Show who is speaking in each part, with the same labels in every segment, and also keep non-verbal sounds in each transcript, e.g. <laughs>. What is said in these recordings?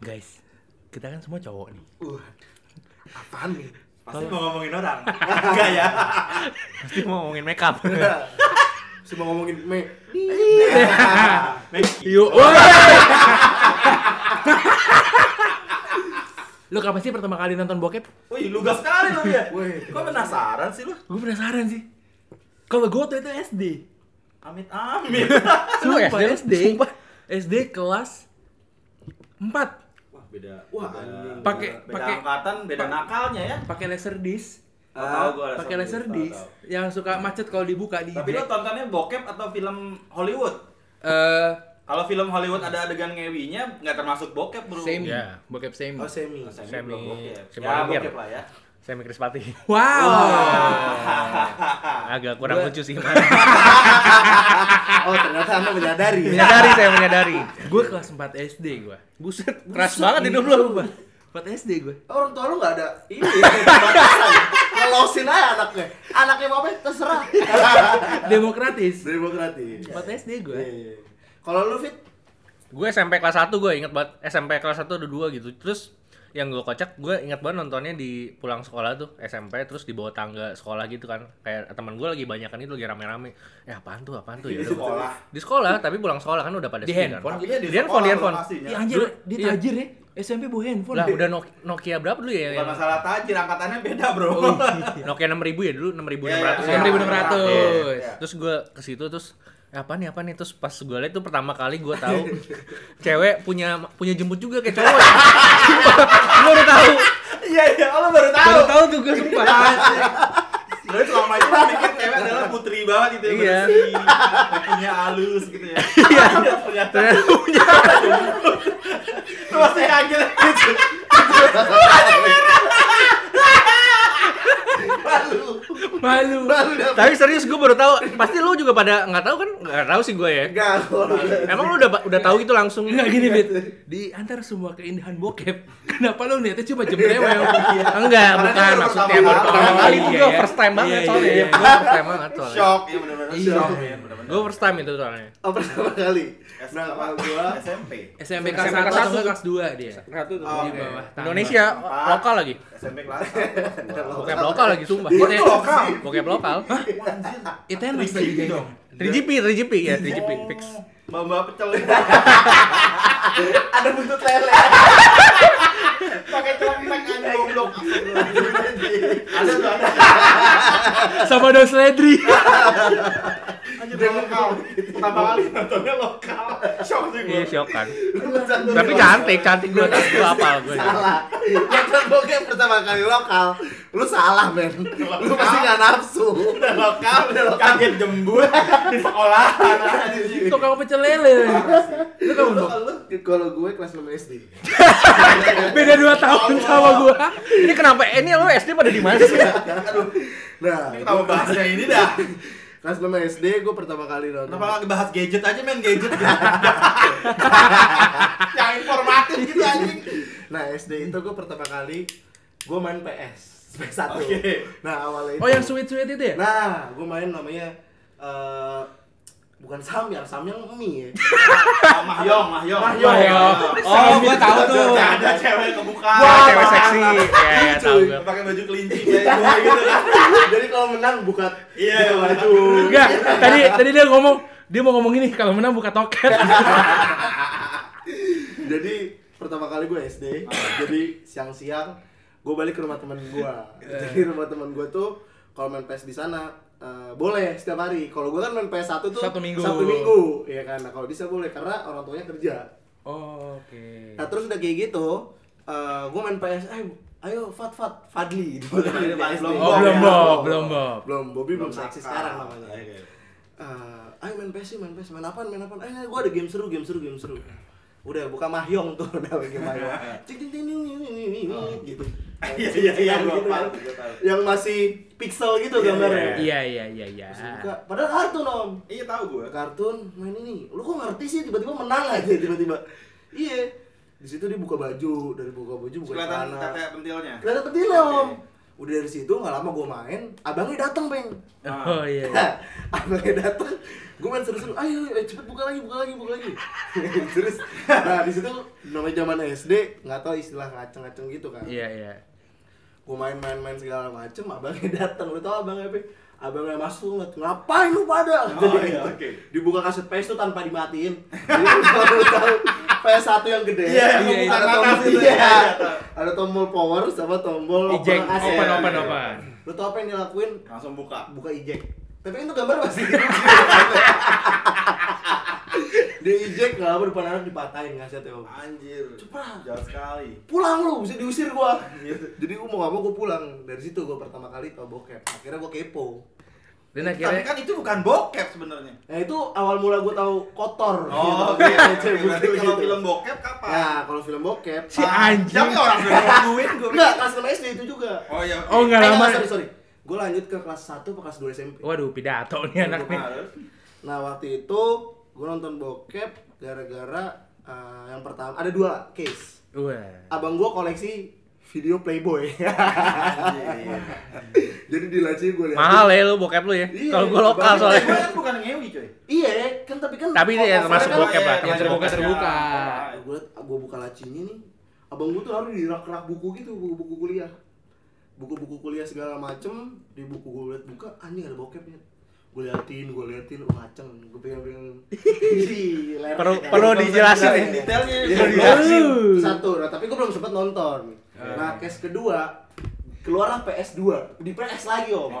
Speaker 1: guys, kita kan semua cowok nih.
Speaker 2: Uh, apaan nih?
Speaker 3: Pasti mau ngomongin orang. Enggak ya.
Speaker 1: Pasti mau ngomongin <laughs> makeup.
Speaker 2: Cuma ngomongin me.
Speaker 3: Maggie.
Speaker 1: Yuk. Lu kapan sih pertama kali nonton bokep?
Speaker 3: Wih, lugas sekali lo dia.
Speaker 2: Wih.
Speaker 3: Kok penasaran sih lu?
Speaker 1: Gue penasaran sih. Kalau gue tuh itu SD.
Speaker 3: Amit-amit.
Speaker 1: Sumpah
Speaker 4: SD lu?
Speaker 1: SD. SD kelas 4
Speaker 3: Wah, beda.
Speaker 2: Wah,
Speaker 3: beda-
Speaker 2: anjing.
Speaker 1: Pakai-
Speaker 3: beda
Speaker 1: pakai-
Speaker 3: angkatan, beda
Speaker 1: pakai-
Speaker 3: nakalnya ya.
Speaker 1: pakai Laserdisc.
Speaker 3: Tau tau gua Oh, laser
Speaker 1: Pakai
Speaker 3: disc,
Speaker 1: Laserdisc
Speaker 3: tau, tau.
Speaker 1: yang suka macet kalau dibuka di
Speaker 3: Tapi lo
Speaker 1: Jack.
Speaker 3: tontonnya bokep atau film Hollywood?
Speaker 1: Eh,
Speaker 3: Kalau film Hollywood ada adegan ngewinya nggak termasuk bokep, Bro.
Speaker 4: Semi.
Speaker 1: ya, bokep semi.
Speaker 2: Oh, semi.
Speaker 3: Oh, Semi.
Speaker 4: Semi-
Speaker 3: belum bokep.
Speaker 4: semi
Speaker 3: Ya,
Speaker 4: Olivier.
Speaker 3: bokep lah ya.
Speaker 4: Semi Krispati.
Speaker 1: Wow.
Speaker 4: Agak kurang
Speaker 1: Gua-
Speaker 4: lucu <laughs> sih.
Speaker 2: Oh, ternyata Anda menyadari. ya?
Speaker 4: menyadari saya menyadari.
Speaker 1: Gue kelas 4 SD gue.
Speaker 4: Buset, keras banget hidup lu.
Speaker 1: 4 SD gue.
Speaker 2: Orang tua lu nggak ada ini <laughs> batasan. Ngelosin aja anaknya. Anaknya mau apa terserah.
Speaker 1: <laughs> Demokratis.
Speaker 2: Demokratis.
Speaker 1: 4 SD gue.
Speaker 2: Iya, iya. Kalau lu fit
Speaker 4: Gue SMP kelas 1 gue inget banget. SMP kelas 1 ada 2 gitu. Terus yang gue kocak, gue inget banget nontonnya di pulang sekolah tuh SMP terus di bawah tangga sekolah gitu kan kayak teman gue lagi banyakan itu lagi rame-rame eh apaan tuh apaan tuh ya
Speaker 3: Di sekolah.
Speaker 4: di sekolah tapi pulang sekolah kan udah pada
Speaker 1: Di
Speaker 4: sepi kan.
Speaker 1: handphone.
Speaker 3: Iya, di
Speaker 4: Di handphone,
Speaker 3: sekolah
Speaker 4: di handphone.
Speaker 3: lo pastinya.
Speaker 1: Iya anjir,
Speaker 4: Dulu-
Speaker 1: dia
Speaker 4: iya.
Speaker 1: tajir ya. SMP bawa handphone.
Speaker 4: lah
Speaker 1: <laughs>
Speaker 4: udah Nok- Nokia berapa dulu ya
Speaker 3: Bukan
Speaker 4: yang
Speaker 3: masalah tajir, angkatannya beda, Bro.
Speaker 1: Oh.
Speaker 4: Nokia 6000 ya dulu 6600
Speaker 3: Iya,
Speaker 4: ya.
Speaker 3: iya,
Speaker 1: 6600.
Speaker 4: Iya.
Speaker 3: Iya.
Speaker 4: Terus gue ke situ terus "Eh, apa nih apa nih terus pas gue liat tuh pertama kali gue
Speaker 3: <laughs>
Speaker 4: tahu cewek punya punya jemput juga kayak cowok. Ya. gue udah tahu.
Speaker 3: <laughs> Iya, iya, lo baru tahu.
Speaker 4: Baru tahu tuh gue sumpah.
Speaker 3: Berarti selama itu lu mikir cewek adalah putri banget gitu ya,
Speaker 4: Iya.
Speaker 3: bersih, kakinya halus gitu ya. <laughs> Iya, ternyata
Speaker 4: Ternyata <laughs> punya.
Speaker 3: lu masih kaget.
Speaker 2: malu.
Speaker 1: Malu.
Speaker 2: Malu dah.
Speaker 4: Tapi serius gue baru tahu. Pasti lu juga pada nggak tahu kan? Nggak tahu sih gue ya.
Speaker 2: Enggak, kalau lu-
Speaker 4: Emang lu udah udah tahu gitu langsung?
Speaker 1: Enggak gini, Fit. Di antara semua keindahan bokep, <laughs> kenapa lo niatnya cuma jembrewel?
Speaker 4: Enggak,
Speaker 3: Karena
Speaker 4: bukan
Speaker 3: kan baru
Speaker 4: maksudnya
Speaker 3: pertama
Speaker 4: baru
Speaker 3: kali.
Speaker 4: pertama kali itu
Speaker 1: Iya,
Speaker 4: gue
Speaker 1: iya.
Speaker 4: first time banget
Speaker 1: Iya,
Speaker 4: soalnya.
Speaker 1: iya, iya.
Speaker 4: Gue first time banget soalnya.
Speaker 3: Shock, iya benar-benar
Speaker 2: Iya.
Speaker 3: shock. Iya, benar-benar.
Speaker 4: Gue first time itu soalnya.
Speaker 2: Oh, pertama kali. Nah,
Speaker 3: apa?
Speaker 2: kalau gua
Speaker 3: SMP.
Speaker 1: SMP
Speaker 4: SMP
Speaker 1: kelas 1
Speaker 4: kelas
Speaker 1: atau
Speaker 4: satu.
Speaker 1: enggak kelas 2 dia.
Speaker 4: Satu tuh.
Speaker 3: Oh,
Speaker 1: Di
Speaker 3: Oke.
Speaker 1: bawah tangan.
Speaker 4: Indonesia
Speaker 3: Empat.
Speaker 4: lokal lagi.
Speaker 3: SMP <laughs> kelas satu, kelas dua.
Speaker 4: Bokep lokal lagi sumpah.
Speaker 3: Itu
Speaker 4: Kita-
Speaker 3: lokal?
Speaker 4: Bokep
Speaker 1: <laughs>
Speaker 4: lokal.
Speaker 1: Itu yang masih
Speaker 3: Tricky
Speaker 1: jadi.
Speaker 3: dong.
Speaker 4: 3GP, 3GP ya, 3GP fix.
Speaker 3: Mbak-mbak pecel.
Speaker 2: ada buntut lele.
Speaker 3: Pakai celempek aja goblok. Ada tuh ada.
Speaker 1: <laughs> Sama dos ledri.
Speaker 3: Anjir udah lokal. Pertama kali nontonnya lokal. Shock sih
Speaker 4: Iya,
Speaker 3: gue.
Speaker 4: shock kan. Tapi
Speaker 2: Tapi
Speaker 4: cantik, cantik gue tapi gue apal gue.
Speaker 2: salah nonton bokep pertama kali lokal lu salah men lu pasti nggak nafsu
Speaker 3: Udah lokal, udah lokal. Kaget jembut <laughs> di sekolahan anjing.
Speaker 1: Tukang pecel lele. Lu kamu dong.
Speaker 2: kalau gue kelas 6 SD
Speaker 1: Beda 2 tahun sama gua.
Speaker 4: Ini kenapa? eh, Ini lo SD pada di mana sih?
Speaker 2: nah
Speaker 3: Ini Kenapa bahasnya ini dah?
Speaker 2: kelas 6 SD gue pertama kali nonton
Speaker 3: Kenapa lagi bahas gadget aja main <laughs> gadget gitu. Yang informatif gitu anjing.
Speaker 2: nah SD itu gue pertama kali gue main PS PS1
Speaker 3: Oke.
Speaker 2: nah awalnya itu
Speaker 1: Oh yang sweet-sweet itu ya?
Speaker 2: nah gue main namanya eh bukan samyang samyang
Speaker 1: <laughs>
Speaker 2: mie ya
Speaker 3: Oh, Mahyong, Mahyong.
Speaker 2: Mahyong.
Speaker 4: Oh, gua tahu tuh.
Speaker 3: Ada cewek kebuka.
Speaker 4: Wah, cewek seksi. Ya, ya, tahu
Speaker 2: Cuy.
Speaker 4: gue.
Speaker 3: Pakai baju kelinci kayak gue gitu kan.
Speaker 2: jadi kalau menang buka
Speaker 3: Iya,
Speaker 2: buka
Speaker 3: buka.
Speaker 2: baju
Speaker 1: Enggak, tadi tadi dia ngomong dia mau ngomong ini kalau menang buka toket.
Speaker 2: <laughs> jadi pertama kali gue SD jadi siang-siang gue balik ke rumah teman gue
Speaker 1: Iya.
Speaker 2: jadi rumah teman gue tuh kalau main PS di sana eh, boleh setiap hari kalau gue kan main PS satu tuh
Speaker 1: Satu minggu.
Speaker 2: satu minggu ya kan nah, kalau bisa boleh karena orang tuanya kerja
Speaker 4: Iya.
Speaker 1: Oke.
Speaker 2: nah terus udah kayak gitu eh, gue main PS eh, ayo Fat Fat Fadli gitu.
Speaker 3: belum,
Speaker 2: Di SD.
Speaker 3: belum
Speaker 1: Oh, belum Bob, belum Bob.
Speaker 2: belum Bobby belum
Speaker 3: Belum
Speaker 2: seksi
Speaker 3: nakal.
Speaker 2: sekarang namanya
Speaker 3: Oke.
Speaker 2: Eh, ayo main PS yuk, main PS main apaan main apaan eh gue ada game seru game seru game seru udah buka mahyong tuh <laughs> udah game mahyong cik ting ting ting ting ting ting ting, gitu
Speaker 3: Iya, iya, iya, gua
Speaker 2: Gitu
Speaker 3: paham,
Speaker 2: kan.
Speaker 3: gua tahu.
Speaker 2: yang masih pixel gitu gambarnya
Speaker 1: Iya iya iya iya.
Speaker 2: Terus buka padahal kartun om
Speaker 3: Iya tahu gue.
Speaker 2: kartun main ini lu kok ngerti sih tiba-tiba menang aja tiba-tiba iya di situ dia buka baju dari buka baju buka
Speaker 3: Kelihatan
Speaker 2: celana.
Speaker 3: tetek pentilnya.
Speaker 2: kelihatan pentil om
Speaker 3: Oke. Ah.
Speaker 2: udah dari situ nggak lama gue main abangnya dateng peng
Speaker 1: Oh iya.
Speaker 2: <laughs> Nah, anaknya datang gue main seru-seru ayo ayo, cepet buka lagi buka lagi buka lagi terus nah di situ namanya zaman SD nggak tahu istilah ngaceng-ngaceng gitu kan
Speaker 4: Iya, iya.
Speaker 2: gue main-main-main segala macem abangnya <laughs> datang udah tau abangnya apa abangnya masuk ngeliat ngapain lu pada gitu.
Speaker 3: Oh, iya, oke.
Speaker 2: dibuka kaset PS tuh tanpa dimatiin <laughs> jadi lu tau lu tau PS1 yang gede
Speaker 3: Iya, yang
Speaker 2: Iya,
Speaker 3: buka
Speaker 2: ada
Speaker 3: atas
Speaker 2: tombol
Speaker 3: gitu.
Speaker 2: iya.
Speaker 3: Iya, iya.
Speaker 2: ada tombol power sama tombol
Speaker 4: Eject,
Speaker 2: AC.
Speaker 4: open,
Speaker 2: Iya.
Speaker 4: open, open.
Speaker 2: lu tau apa yang dilakuin
Speaker 3: Langsung buka.
Speaker 2: buka eject tapi kan itu gambar
Speaker 3: <laughs>
Speaker 2: masih dia eject nggak lama depan anak dipatahin kasetnya om
Speaker 3: Anjir.
Speaker 2: Cepat.
Speaker 3: Jauh sekali.
Speaker 2: pulang lu bisa diusir gua
Speaker 3: Anjir.
Speaker 2: jadi gua mau gak mau gua pulang dari situ gua pertama kali tau bokep akhirnya gua kepo
Speaker 4: Dan
Speaker 3: Tapi
Speaker 4: akhirnya
Speaker 3: kan itu bukan bokep sebenarnya.
Speaker 2: nah itu awal mula gua tahu kotor
Speaker 3: Oh,
Speaker 2: gitu.
Speaker 3: oke.
Speaker 2: Cewek
Speaker 3: Berarti
Speaker 2: gitu.
Speaker 3: kalau film bokep kapan?
Speaker 2: nah kalau film bokep
Speaker 1: Si anjing.
Speaker 3: iya. Ya. Ah. Tapi orang udah <laughs> nungguin gue.
Speaker 2: enggak kelas 6 SD itu juga
Speaker 3: Oh ya.
Speaker 1: Oh, enggak.
Speaker 2: Eh,
Speaker 1: lama.
Speaker 2: sorry sorry gua lanjut ke kelas 1 atau kelas 2 SMP
Speaker 4: waduh pidato nih anak nih.
Speaker 2: nah waktu itu gua nonton bokep gara-gara eh, yang pertama ada dua case
Speaker 4: Wah.
Speaker 2: abang gua koleksi video Playboy <laughs> jadi di laci gua lihat
Speaker 4: Mahal ya lu bokep lu ya.
Speaker 2: Iya,
Speaker 4: Kalau gua
Speaker 1: Nah,
Speaker 4: lokal
Speaker 2: banget.
Speaker 3: Soalnya gue
Speaker 4: soalnya.
Speaker 3: kan bukan ngewi coy.
Speaker 2: Iya, kan tapi kan
Speaker 4: Tapi ini ya
Speaker 2: kalau
Speaker 4: termasuk
Speaker 2: covernya
Speaker 4: bokep lah,
Speaker 1: termasuk
Speaker 3: iya,
Speaker 1: bokep
Speaker 3: iya.
Speaker 1: terbuka.
Speaker 2: gue gue buka lacinya nih abang gue tuh harus di rak-rak buku gitu buku-buku kuliah buku-buku kuliah segala macem di buku gue liat buka anjing ada bokepnya gue liatin gue liatin oh ngaceng gue pengen pengen
Speaker 4: Perlu perlu dijelasin ya.
Speaker 3: Detailnya.
Speaker 2: Iya,
Speaker 3: perlu
Speaker 2: iya.
Speaker 3: dijelasin.
Speaker 2: satu nah, tapi gue belum sempet nonton nah case kedua keluarlah PS2 di PS lagi om
Speaker 4: Oh,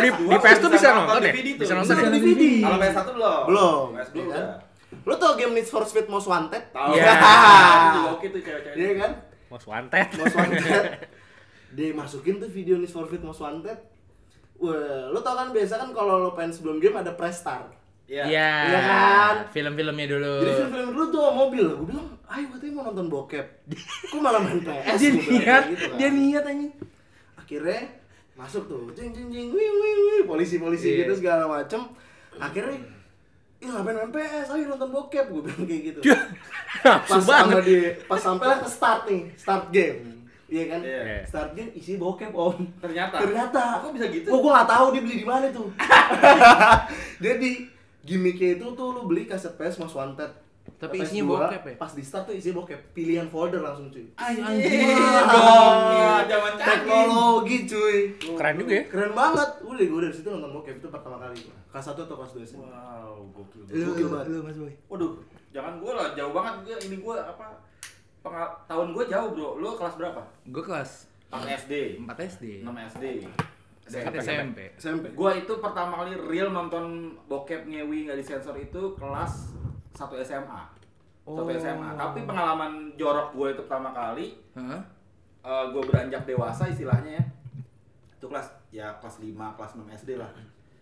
Speaker 4: Di, di PS tuh bisa nonton ya?
Speaker 3: DVD tuh.
Speaker 4: Bisa
Speaker 2: Bisa
Speaker 4: nonton ya?
Speaker 2: nonton DVD
Speaker 3: Kalau PS1 belum? Iya kan?
Speaker 2: belum
Speaker 3: PS2
Speaker 2: ya kan?
Speaker 3: udah.
Speaker 2: lo tau game Need for Speed Most Wanted
Speaker 3: Tahu. <laughs>
Speaker 4: Iya.
Speaker 3: Itu juga Oke tuh cewek-cewek.
Speaker 2: Iya kan?
Speaker 4: Most wanted.
Speaker 2: Most Wanted. Dia masukin tuh video Need for Speed Most Wanted. Wah, lo tau kan biasa kan kalau lo pengen sebelum game ada press start.
Speaker 4: Iya.
Speaker 2: Iya kan?
Speaker 4: Film-filmnya dulu.
Speaker 2: Jadi
Speaker 1: Eh.
Speaker 2: film-film dulu tuh mobil, gue bilang, ayo katanya mau nonton bokep. Kok malah main
Speaker 1: Eh,
Speaker 2: PS?
Speaker 1: dia
Speaker 2: Gua bilang
Speaker 1: niat,
Speaker 2: kayak gitu kan.
Speaker 1: dia niat anjing.
Speaker 2: Akhirnya masuk tuh, jing jing jing, wih wih wih, polisi-polisi
Speaker 4: Iya.
Speaker 2: gitu segala macem. Akhirnya, ih ngapain main PS? Ayo nonton bokep, gue bilang kayak gitu.
Speaker 4: Nafsu
Speaker 2: pas sama
Speaker 4: banget.
Speaker 2: dia, pas sampai lah ke start nih, start game. Iya kan?
Speaker 3: Iya.
Speaker 2: Start game isi bokep om.
Speaker 3: Ternyata.
Speaker 2: Ternyata.
Speaker 3: Kok bisa gitu?
Speaker 2: Oh, gua gak tahu dia beli di mana tuh. <laughs> Jadi gimmicknya itu tuh lu beli kaset PS Most Wanted.
Speaker 1: Tapi
Speaker 2: PS2,
Speaker 1: isinya bokep ya?
Speaker 2: Pas di start tuh isinya bokep, pilihan folder langsung cuy.
Speaker 1: Anjing.
Speaker 3: Iya dong. Iya, zaman canggih.
Speaker 2: Teknologi cuy.
Speaker 4: Keren juga ya.
Speaker 2: Keren banget. Udah gue dari situ nonton bokep itu pertama kali. gua. Kelas 1 atau kelas 2 sih.
Speaker 3: Wow, gokil.
Speaker 2: Lu-
Speaker 3: Gokil.
Speaker 2: lu- lu,
Speaker 1: Mas Boy.
Speaker 3: Waduh, jangan gue lah, jauh banget gue ini gue apa? pengal- tahun gue jauh bro, lo kelas berapa?
Speaker 1: Gue kelas
Speaker 3: 4 SD,
Speaker 1: 4 SD.
Speaker 3: 6 SD.
Speaker 1: SMP. SMP.
Speaker 2: SMP.
Speaker 3: Gue itu pertama kali real nonton bokep ngewi nggak disensor itu kelas 1 SMA. Satu
Speaker 1: Oh.
Speaker 3: SMA. Tapi pengalaman jorok gue itu pertama kali
Speaker 1: Hah?
Speaker 3: gue beranjak dewasa istilahnya ya. Itu kelas ya kelas 5, kelas 6 SD lah.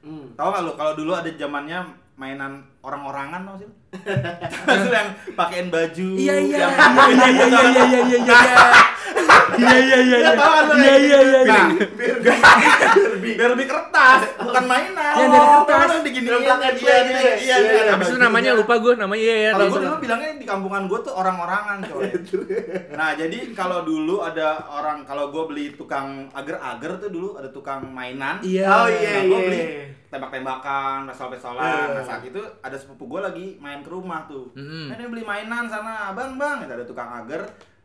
Speaker 2: Hmm.
Speaker 3: Tahu nggak lu kalau dulu ada zamannya mainan orang-orangan tau sih? lu? Terus yang pakaiin baju
Speaker 1: Iya iya
Speaker 3: yang-
Speaker 1: iya iya iya iya iya iya iya iya. iya iya iya iya
Speaker 3: <laughs> Iya, tahu kan lu
Speaker 1: iya
Speaker 3: kayak
Speaker 1: iya iya iya
Speaker 3: Nah, <laughs> Derby. Derby kertas, bukan mainan. Oh,
Speaker 1: Yang dari kertas.
Speaker 3: Yang diginiin,
Speaker 2: Yang pakai
Speaker 3: iya,
Speaker 2: play
Speaker 3: iya,
Speaker 2: gitu
Speaker 3: iya,
Speaker 2: ya?
Speaker 3: iya.
Speaker 2: Iya,
Speaker 4: Habis itu namanya lupa gue namanya iya
Speaker 2: ya,
Speaker 4: iya.
Speaker 3: Kalau
Speaker 4: tahu.
Speaker 3: gue dulu bilangnya di kampungan gue tuh orang-orangan coy. Nah jadi kalau dulu ada orang kalau gue beli tukang ager-ager tuh dulu ada tukang mainan.
Speaker 1: Iya.
Speaker 2: Oh iya
Speaker 3: Nah, gue beli
Speaker 2: iya.
Speaker 3: tembak-tembakan, pesol-pesolan.
Speaker 2: Eh.
Speaker 3: Nah saat itu ada sepupu gue lagi main ke rumah tuh.
Speaker 2: Mm-hmm.
Speaker 4: Mm-mm.
Speaker 3: Nah, dia beli mainan sana, bang bang. Itu ada tukang ager,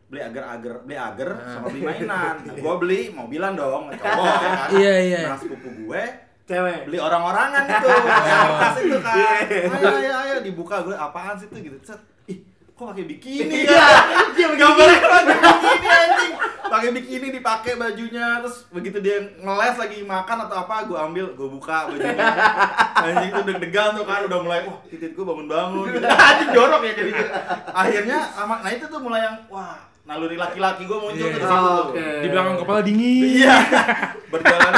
Speaker 3: beli ager-ager, beli ager
Speaker 2: Ah.
Speaker 3: sama beli mainan. Nah,
Speaker 2: <laughs>
Speaker 3: gue beli mobilan dong, cowok ya kan.
Speaker 4: Iya, iya.
Speaker 3: Nah sepupu gue
Speaker 2: Cewek.
Speaker 3: beli orang-orangan itu, yang kertas itu kan. Ayo ayo ayo dibuka gue apaan sih itu gitu. Set. Ih, kok pakai bikini
Speaker 2: Iya,
Speaker 3: ya?
Speaker 2: dia begini.
Speaker 3: Gambarnya kan pakai bikini anjing. Pakai bikini dipakai bajunya terus begitu dia ngeles lagi makan atau apa gue ambil gue buka bajunya. Anjing tuh deg-degan tuh kan udah mulai wah titik gue bangun-bangun gitu. Anjing jorok ya jadi. Akhirnya sama nah itu tuh mulai yang wah naluri laki-laki gue muncul tuh di situ. tuh.
Speaker 2: Iya. Ah, Oke.
Speaker 4: Di belakang kepala dingin.
Speaker 3: Iya. Berjalan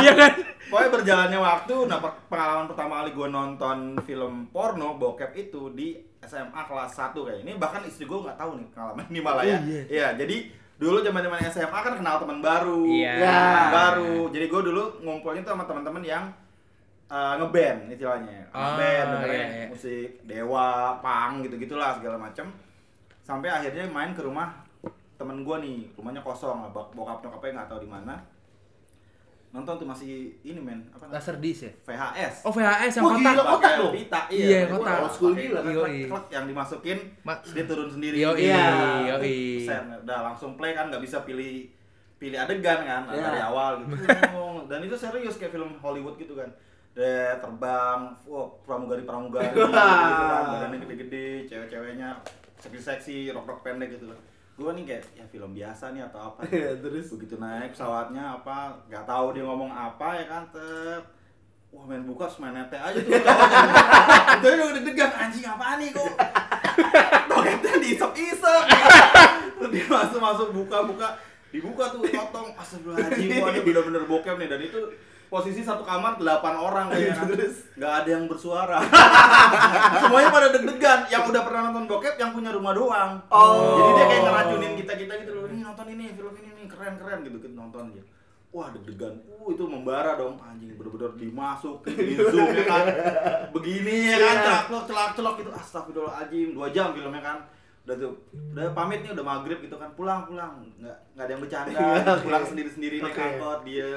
Speaker 4: Iya kan?
Speaker 3: Pokoknya berjalannya waktu, nah per- pengalaman pertama kali gue nonton film porno bokep itu di SMA kelas 1 kayak ini bahkan istri gue nggak tahu nih pengalaman ini malah ya. Iya, jadi dulu zaman-zaman SMA kan kenal teman baru.
Speaker 4: Iya.
Speaker 3: teman baru. Jadi gue dulu ngumpulnya tuh sama teman-teman yang eh, ngeband istilahnya.
Speaker 4: Ah,
Speaker 3: ngeband, dengerin
Speaker 4: iya, iya.
Speaker 3: musik dewa, punk gitu-gitulah segala macem sampai akhirnya main ke rumah temen gue nih rumahnya kosong bok- bokap nyokapnya nggak tahu di mana nonton tuh masih ini men apa namanya?
Speaker 1: Laser disc ya?
Speaker 3: VHS
Speaker 1: Oh VHS yang
Speaker 2: Wah, gila,
Speaker 1: kotak.
Speaker 2: kok- kotak
Speaker 3: Pakai
Speaker 2: dong?
Speaker 3: pita
Speaker 1: Iya,
Speaker 3: pakai
Speaker 1: kotak.
Speaker 3: bola,
Speaker 2: Old school
Speaker 3: pakai
Speaker 2: gila.
Speaker 3: klek, klek,
Speaker 1: Yoi.
Speaker 3: klek, yang dimasukin
Speaker 1: Ma-
Speaker 3: terus dia turun sendiri
Speaker 1: Yoi,
Speaker 3: Iya.
Speaker 1: yoi.
Speaker 3: Buset, udah langsung play kan nggak bisa pilih pilih adegan kan
Speaker 2: Iya.
Speaker 3: dari awal
Speaker 1: <laughs>
Speaker 3: gitu dan itu serius kayak film Hollywood gitu kan Deh, terbang, oh, wow, pramugari
Speaker 2: <laughs>
Speaker 3: pramugari, gitu kan, badannya gede-gede, cewek-ceweknya seksi-seksi, rok-rok pendek gitu loh. Gue nih kayak ya film biasa nih atau apa?
Speaker 2: Iya, terus?
Speaker 3: begitu naik pesawatnya apa, nggak tahu dia ngomong apa ya kan, tet. Wah main buka harus main nete aja tuh
Speaker 2: <laughs>
Speaker 3: cowoknya. Itu udah deg-degan anjing apa nih kok. Toketnya diisep-isep. Terus dia masuk-masuk buka-buka, dibuka tuh potong. Astagfirullahaladzim, wah ini bener-bener bokep nih dan itu posisi satu kamar 8 orang kayaknya terus nggak ada yang
Speaker 2: <laughs>
Speaker 3: bersuara semuanya pada deg-degan yang udah pernah nonton bokep yang punya rumah doang
Speaker 2: Oh.
Speaker 3: jadi dia kayak ngeracunin kita kita gitu loh ini nonton ini film ini nih keren keren gitu gitu nonton gitu wah deg-degan uh itu membara dong anjing bener-bener dimasuk di zoom ya kan begini ya kan
Speaker 2: Iya.
Speaker 3: celak celak celak gitu astagfirullahaladzim dua jam filmnya kan udah tuh udah pamit nih udah maghrib gitu kan pulang pulang nggak nggak ada yang bercanda
Speaker 2: Iya.
Speaker 3: pulang sendiri sendiri naik
Speaker 2: Oke.
Speaker 3: angkot dia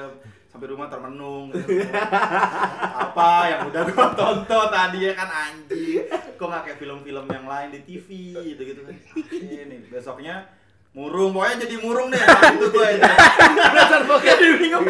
Speaker 3: sampai rumah termenung gitu. apa yang udah gua <laughs> tonton tadi ya kan anjing kok nggak kayak film-film yang lain di TV gitu gitu kan ini besoknya murung pokoknya jadi murung deh Nah, itu gue itu
Speaker 1: Laser bokep.
Speaker 3: bingung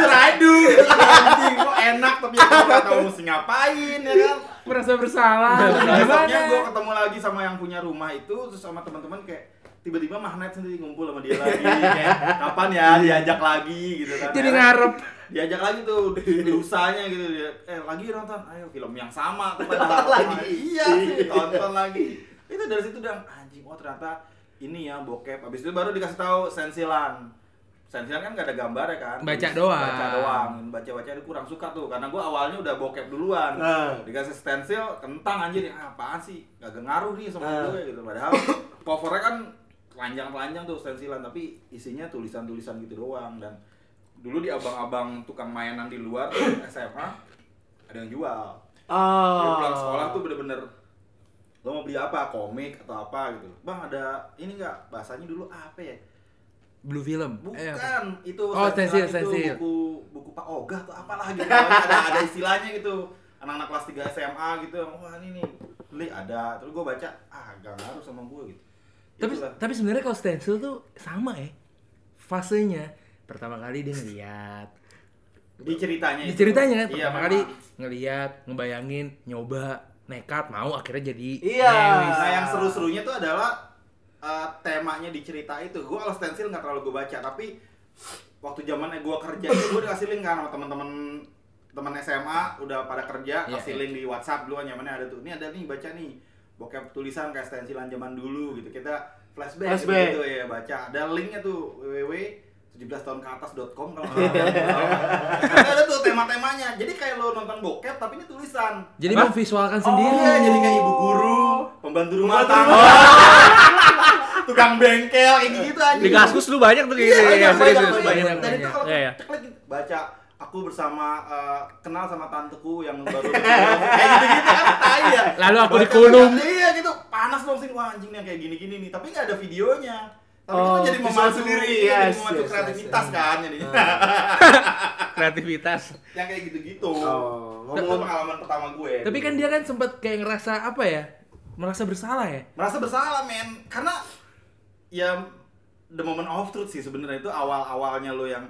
Speaker 3: suradu anjing kok enak tapi aku nggak tahu mesti ngapain ya kan
Speaker 1: Merasa bersalah.
Speaker 3: Nah,
Speaker 1: Gimana?
Speaker 3: besoknya gue ketemu lagi sama yang punya rumah itu terus sama teman-teman kayak tiba-tiba magnet sendiri ngumpul sama dia lagi kayak kapan ya diajak lagi gitu kan
Speaker 1: Iya. Jadi
Speaker 3: Ya.
Speaker 1: ngarep.
Speaker 3: diajak lagi tuh dosanya gitu dia eh lagi nonton ayo film yang
Speaker 1: <laughs>
Speaker 3: sama tuh pada
Speaker 2: Nonton
Speaker 3: lama.
Speaker 2: lagi.
Speaker 3: iya sih tonton lagi itu dari situ udah anjing oh ternyata ini ya bokep abis itu baru dikasih tahu sensilan sensilan kan gak ada gambar ya kan
Speaker 1: Baca
Speaker 3: Terus
Speaker 1: doang.
Speaker 3: baca doang baca baca itu kurang suka tuh karena gua awalnya udah bokep duluan
Speaker 1: Ah.
Speaker 2: Nah.
Speaker 3: dikasih stensil kentang anjir ah, apaan sih gak ngaruh nih sama
Speaker 2: Nah.
Speaker 3: gue gitu padahal covernya kan telanjang-telanjang tuh stensilan tapi isinya tulisan-tulisan gitu doang dan dulu di abang-abang tukang mainan di luar <coughs> SMA ada yang jual Jadi
Speaker 2: Ah.
Speaker 3: pulang sekolah tuh bener-bener lo mau beli apa komik atau apa gitu bang ada ini nggak bahasanya dulu apa ya
Speaker 1: Blue film. Eh, apa?
Speaker 3: Bukan, Iya, itu
Speaker 1: Oh,
Speaker 3: saya
Speaker 1: stensil,
Speaker 3: bilang itu
Speaker 1: stensil.
Speaker 3: buku buku Pak Ogah atau apalah gitu. ada ada istilahnya gitu. Anak-anak kelas 3 SMA gitu. Wah, ini nih beli ada. Terus gue baca, ah gak ngaruh sama gue gitu.
Speaker 1: Tapi
Speaker 3: Itulah.
Speaker 1: tapi sebenarnya kalau stencil tuh sama ya. Fasenya pertama kali dia ngeliat
Speaker 3: di ceritanya.
Speaker 1: di
Speaker 3: itu.
Speaker 1: ceritanya kan
Speaker 3: Iya,
Speaker 1: pertama
Speaker 3: memang.
Speaker 1: kali ngeliat ngebayangin nyoba nekat mau akhirnya jadi
Speaker 2: Iya.
Speaker 1: newis.
Speaker 3: Nah, yang seru-serunya tuh adalah eh, temanya di cerita itu. Gue kalau stensil nggak terlalu gue baca, tapi waktu zamannya gue kerja itu gue dikasih link kan sama teman-teman teman SMA udah pada kerja
Speaker 1: Iya,
Speaker 3: kasih
Speaker 1: iya.
Speaker 3: link di WhatsApp dulu nyamannya ada tuh. Ini ada nih baca nih bokep tulisan kayak stensilan zaman dulu gitu. Kita flashback,
Speaker 2: Flashback.
Speaker 3: gitu ya baca. Ada linknya tuh www 17 tahun ke atas.com
Speaker 1: <laughs>
Speaker 3: kalau nggak salah. Karena ada tuh tema-temanya. Jadi kayak lo nonton bokep tapi ini tulisan.
Speaker 1: jadi
Speaker 3: Hah?
Speaker 1: memvisualkan
Speaker 3: Oh,
Speaker 1: sendiri
Speaker 3: iya, jadi kayak ibu guru, pembantu rumah
Speaker 2: Pembantu
Speaker 3: <laughs> tangga, tukang bengkel, kayak gitu aja.
Speaker 4: Di kaskus lu banyak tuh kayak
Speaker 3: Iya,
Speaker 4: gitu.
Speaker 3: banyak,
Speaker 4: Iya,
Speaker 3: banyak,
Speaker 4: serius, serius,
Speaker 3: banyak.
Speaker 1: banyak,
Speaker 3: Dan itu kalau
Speaker 4: Iya, iya.
Speaker 3: klik baca aku bersama eh, kenal sama tanteku yang baru dikurung. kayak gitu-gitu kan tai ya.
Speaker 1: Lalu aku
Speaker 3: Baca-
Speaker 1: dikulung.
Speaker 3: Iya gitu, panas dong sih wah anjing nih kayak gini-gini nih, tapi nggak ada videonya. Tapi
Speaker 2: Oh,
Speaker 3: kan jadi
Speaker 2: visual
Speaker 3: memacu
Speaker 2: sendiri,
Speaker 3: iya, jadi
Speaker 2: yes,
Speaker 3: memacu
Speaker 2: yes,
Speaker 3: kreativitas
Speaker 2: yes, yes.
Speaker 3: kan jadinya.
Speaker 4: Kreativitas.
Speaker 3: <laughs> yang kayak gitu-gitu.
Speaker 2: Oh,
Speaker 3: Itu
Speaker 2: ngomong-
Speaker 3: pengalaman pertama gue.
Speaker 1: tapi kan dia kan sempat kayak ngerasa apa ya merasa bersalah ya
Speaker 3: merasa bersalah men karena ya the moment of truth sih sebenarnya itu awal awalnya lo yang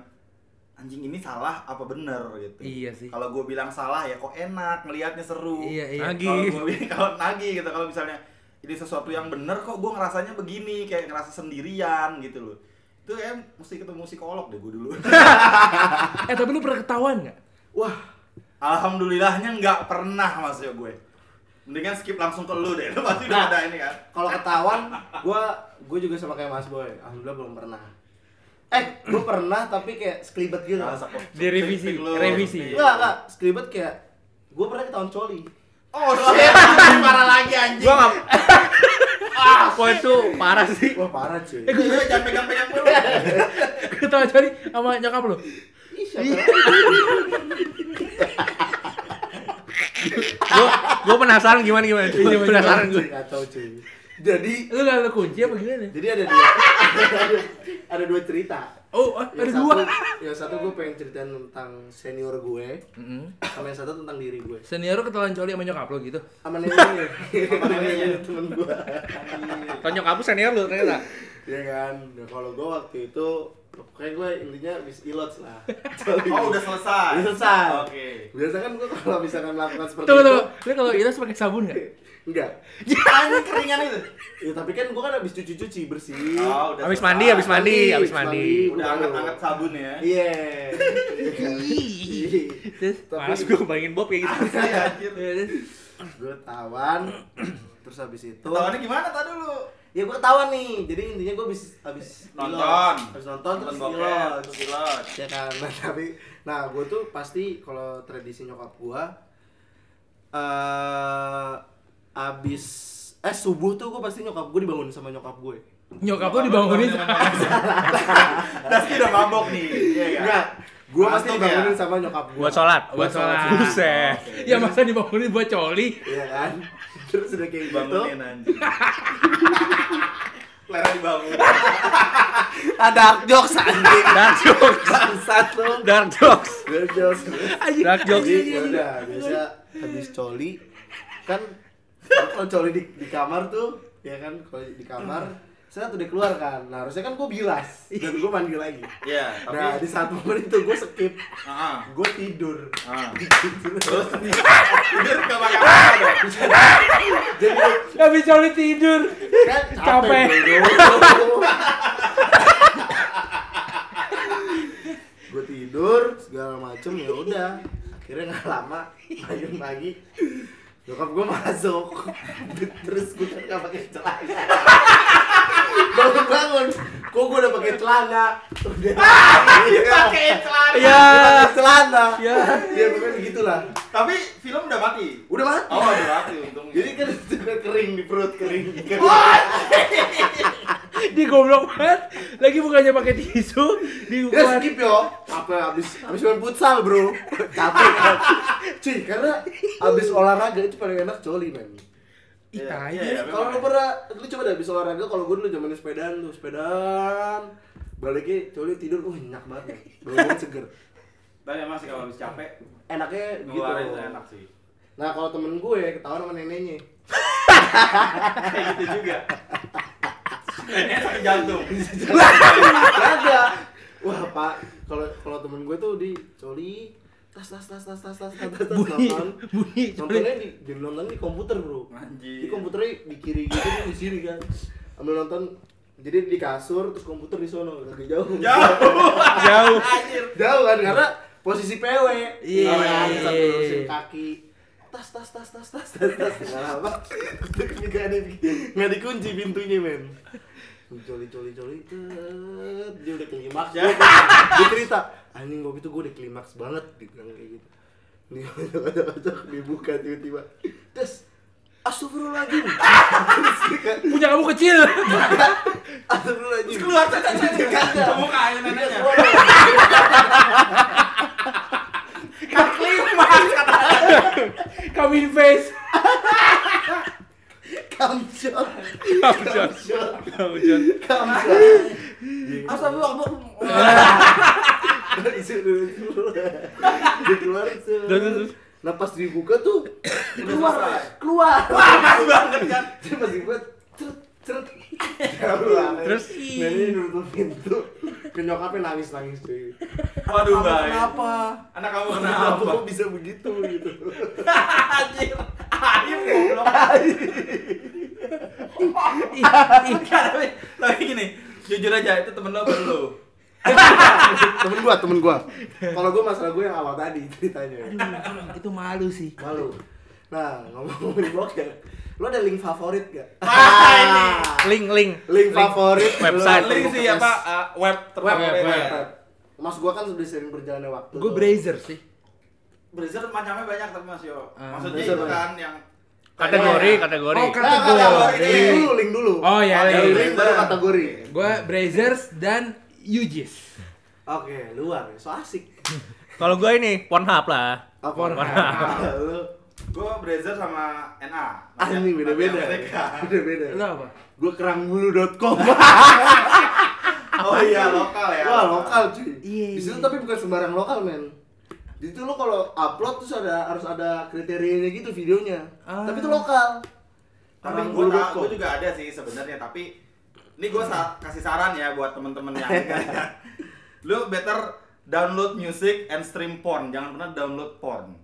Speaker 3: anjing ini salah apa bener gitu
Speaker 1: Iya sih.
Speaker 3: kalau gue bilang salah ya kok enak ngelihatnya seru
Speaker 1: Iya, iya.
Speaker 3: Kalau
Speaker 4: Nagih.
Speaker 3: gua bilang- <laughs> kalau nagih gitu kalau misalnya ini sesuatu yang bener kok gue ngerasanya begini kayak ngerasa sendirian gitu loh itu ya mesti ketemu psikolog deh gue dulu <laughs>
Speaker 1: eh tapi lu pernah ketahuan nggak <laughs>
Speaker 2: Wah,
Speaker 3: alhamdulillahnya nggak pernah mas ya gue mendingan skip langsung ke lu deh lu pasti udah
Speaker 2: Nah.
Speaker 3: ada ini kan
Speaker 2: kalau ketahuan gua gua juga sama kayak Mas Boy. Alhamdulillah belum pernah. Eh, gua pernah tapi kayak sekelibet gitu.
Speaker 3: Nah, sok-
Speaker 4: Di revisi,
Speaker 3: tik-tik lu.
Speaker 4: revisi.
Speaker 2: Enggak, enggak, sekelibet kayak gua pernah ketahuan coli.
Speaker 3: Oh shit, anjing, <laughs> parah lagi anjing.
Speaker 4: Gua nggak. Ah, kok itu parah sih.
Speaker 2: Wah, parah cuy.
Speaker 3: Eh, gua- jangan pegang-pegang dulu.
Speaker 1: ketahuan jadi sama nyokap lu
Speaker 2: Ih, siapa?
Speaker 4: Gua gua penasaran gimana gimana. Penasaran gue.
Speaker 2: Kacau cuy. Jadi
Speaker 1: lu nggak lu kunci apa gimana
Speaker 2: Jadi <laughs> ada dua ada dua cerita.
Speaker 1: Oh, ah, ada
Speaker 2: yang
Speaker 1: dua.
Speaker 2: satu, yang satu gue pengen ceritain tentang senior gue sama yang satu tentang diri gue
Speaker 1: Senior lu ketelan coli sama nyokap lo gitu.
Speaker 2: sama neneknya sama neneknya temen gue
Speaker 4: Tonyok kamu senior lu ternyata.
Speaker 2: ya kan nah, kalau gue waktu itu kayak gue intinya bis ilots lah
Speaker 3: Oh, udah selesai.
Speaker 2: Udah selesai.
Speaker 3: Oke.
Speaker 2: biasa kan gue kalau misalkan melakukan seperti
Speaker 1: Tunggu,
Speaker 2: itu
Speaker 1: tunggu. Lu kalau ilas pakai sabun nggak?
Speaker 2: enggak
Speaker 3: Anjing keringan itu.
Speaker 2: ya tapi kan gue kan habis cuci-cuci bersih
Speaker 3: Oh, udah.
Speaker 4: Habis
Speaker 3: selesai.
Speaker 4: mandi, habis mandi, habis mandi.
Speaker 3: Udah anget-anget sabun ya.
Speaker 2: iya
Speaker 1: Terus
Speaker 2: Tapi-
Speaker 4: Males gue bayangin Bob kayak gitu.
Speaker 3: Iya, anjir.
Speaker 1: ya, terus.
Speaker 2: gue tawan terus habis itu
Speaker 3: Ketahuannya gimana tadi dulu?
Speaker 2: ya gue ketahuan nih jadi intinya gue habis habis
Speaker 3: Nonton.
Speaker 2: ilos. habis nonton terus
Speaker 3: bokep,
Speaker 2: ilos
Speaker 3: terus ilot.
Speaker 2: ya kan <laughs> Nah, tapi nah gue tuh pasti kalau tradisi nyokap gue eh abis eh subuh tuh gue pasti nyokap gue dibangun sama nyokap gue
Speaker 1: Nyokap lo dibangunin.
Speaker 3: Dasti udah mabok nih. Iya
Speaker 2: enggak gue pasti
Speaker 3: Langsung ya?
Speaker 2: dibangunin sama nyokap gue
Speaker 4: Buat sholat. Iya,
Speaker 1: Buat sholat.
Speaker 4: Buset.
Speaker 1: Ya masa dibangunin buat coli?
Speaker 2: Iya kan <laughs> terus udah kayak gitu
Speaker 3: Bangunin anjing. Lera dibangun.
Speaker 2: ada jokes anjing
Speaker 4: Dark jokes.
Speaker 2: bangsat lo
Speaker 4: Dark jokes.
Speaker 2: Dark jokes
Speaker 1: Anjing.
Speaker 4: Dark jokes.
Speaker 2: Jadi, yaudah, biasa habis coli kan kalau coli di, di kamar tuh ya kan kalau di kamar saya tuh dikeluar kan nah harusnya kan gue bilas dan gue mandi lagi
Speaker 3: Iya, tapi
Speaker 2: nah di saat momen itu gue skip
Speaker 3: Heeh.
Speaker 2: gue tidur
Speaker 3: Ah.
Speaker 2: terus
Speaker 3: Tidur ke pakai apa dong?
Speaker 2: jadi
Speaker 1: Habis coli tidur.
Speaker 2: kan
Speaker 1: Capek.
Speaker 2: capek, bego. gue tidur segala macem ya udah akhirnya nggak lama pagi pagi nyokap gue masuk terus gue kan nggak pakai celana bangun bangun kok gue udah pakai celana udah
Speaker 3: Pakai celana. Iya.
Speaker 2: ya celana
Speaker 1: Ya.
Speaker 2: ya pokoknya begitulah
Speaker 3: Tapi film udah mati.
Speaker 2: udah mati
Speaker 3: Oh, udah mati untungnya.
Speaker 2: jadi kan sudah kering di perut kering kering
Speaker 3: Oh,
Speaker 1: Di goblok banget. Lagi bukannya pakai tisu, di
Speaker 3: Iya,
Speaker 2: Ya skip yo. Apa abis abis main futsal bro? Capek kan. Cuy karena abis olahraga itu paling enak coli men.
Speaker 1: Ih,
Speaker 3: Iya,
Speaker 1: tai.
Speaker 3: iya, iya,
Speaker 2: Kalau lu
Speaker 3: memang.
Speaker 2: pernah, lu coba deh abis olahraga kalau gue dulu zaman sepedaan tuh sepedaan baliknya coli tidur, uh enak banget. Bau seger.
Speaker 3: Tapi emang sih kalau habis capek,
Speaker 2: Enaknya gitu.
Speaker 3: ngeluarin tuh enak sih.
Speaker 2: Nah kalau temen gue ketahuan sama neneknya.
Speaker 3: Kayak gitu juga. Neneknya sakit jantung.
Speaker 2: Kagak. Wah pak, kalau kalau temen gue tuh di coli tas tas tas tas tas tas tas tas tas
Speaker 1: Bunyi,
Speaker 2: nonton.
Speaker 1: bunyi coli.
Speaker 2: nontonnya di, di nonton di komputer bro
Speaker 3: Anjir.
Speaker 2: di komputernya di kiri gitu kan di sini kan ambil nonton jadi di kasur terus komputer di sono agak jauh
Speaker 3: Jauh.
Speaker 4: Jauh.
Speaker 3: Anjir.
Speaker 2: jauh kan karena posisi PW
Speaker 1: Iya.
Speaker 2: Karena kan sambil lurusin kaki tas tas tas tas tas tas tas nggak apa nggak di Iya. nggak dikunci pintunya men coli coli coli tet. dia udah klimaks ya. dia, dia cerita anjing waktu itu gue udah klimaks banget dia bilang kayak gitu dia kocok-kocok, dibuka tiba-tiba tes Astagfirullahaladzim Terus dia kan-
Speaker 1: Punya kamu kecil.
Speaker 2: Astagfirullahaladzim
Speaker 3: Keluar cacat cacat.
Speaker 2: Kagak.
Speaker 3: Kamu kain neneknya.
Speaker 2: Iya.
Speaker 1: Coming face.
Speaker 2: Kamcot
Speaker 4: Kamu jokes.
Speaker 2: Kamcot
Speaker 4: Kamu jokes.
Speaker 2: Kamcot
Speaker 3: Astagfirullah.
Speaker 2: disuruh Dia keluar suruh.
Speaker 4: terus.
Speaker 2: nah pas dibuka tuh keluar
Speaker 3: selesai.
Speaker 2: keluar
Speaker 3: Wah, pas banget kan.
Speaker 2: terus pas dibuka ceret ceret Ya Allah.
Speaker 4: Terus?
Speaker 2: neneknya nutup pintu ke nyokapnya nangis nangis cuy Kamu
Speaker 3: Waduh, Bay.
Speaker 2: kenapa
Speaker 3: Anak kamu
Speaker 2: kenapa <laughs>
Speaker 3: kenapa?
Speaker 2: kok bisa begitu gitu
Speaker 3: Anjir. Aib goblok. <laughs>
Speaker 1: Iya.
Speaker 3: Enggak, tapi tapi gini, jujur aja itu temen lo apa lu?
Speaker 2: temen gua temen gua kalau gua masalah gua yang awal tadi ceritanya
Speaker 1: Itu malu sih.
Speaker 2: malu nah ngomong-ngomongin bokep lo ada link favorit gak
Speaker 3: Ah, ini.
Speaker 4: Link, link.
Speaker 2: link favorit lo ya,
Speaker 4: Website.
Speaker 2: untuk
Speaker 3: Link sih
Speaker 2: podcast.
Speaker 3: apa eh, web ya?
Speaker 2: web,
Speaker 3: terfavorit.
Speaker 2: web, web. Nah, Mas gua kan sudah sering berjalannya waktu.
Speaker 1: Gue
Speaker 2: tuh.
Speaker 1: brazier sih.
Speaker 3: Brazzer macamnya banyak tapi Mas Yo.
Speaker 1: Ah,
Speaker 3: Maksudnya
Speaker 2: Brazzer
Speaker 3: itu
Speaker 2: banyak.
Speaker 3: kan yang
Speaker 2: Oh, iya.
Speaker 4: Kategori, kategori.
Speaker 1: Oh,
Speaker 2: Nah, kategori. Link
Speaker 1: kategori.
Speaker 2: dulu, link dulu.
Speaker 1: Oh ya,
Speaker 2: Baru
Speaker 1: link.
Speaker 2: link baru kategori.
Speaker 1: Gue brazers dan Yujis.
Speaker 2: Oke, luar. So asik.
Speaker 4: Kalau gue ini Pornhub lah.
Speaker 2: Apa Lu
Speaker 3: Gue Brazzer sama NA.
Speaker 2: anjing
Speaker 3: Masih-
Speaker 2: Ah, <laughs> beda-beda. ya.
Speaker 1: Nah.
Speaker 3: masih Amerika.
Speaker 2: Beda-beda.
Speaker 1: Lo apa?
Speaker 2: Gua kerangbulu.com.
Speaker 3: <laughs> Oh iya lokal ya.
Speaker 2: Wah lokal cuy.
Speaker 1: Iya,
Speaker 2: Di situ
Speaker 1: iya.
Speaker 2: tapi bukan sembarang lokal men. Di situ lo kalau upload terus ada harus ada kriterianya gitu videonya.
Speaker 1: Ah.
Speaker 2: Tapi itu lokal.
Speaker 3: Tapi
Speaker 2: Orang
Speaker 3: gue
Speaker 2: Bulgakko.
Speaker 3: juga ada sih sebenarnya tapi ini gue sa- kasih saran ya buat temen-temen yang kan.
Speaker 2: <laughs>
Speaker 3: lu better download music and stream porn jangan pernah download porn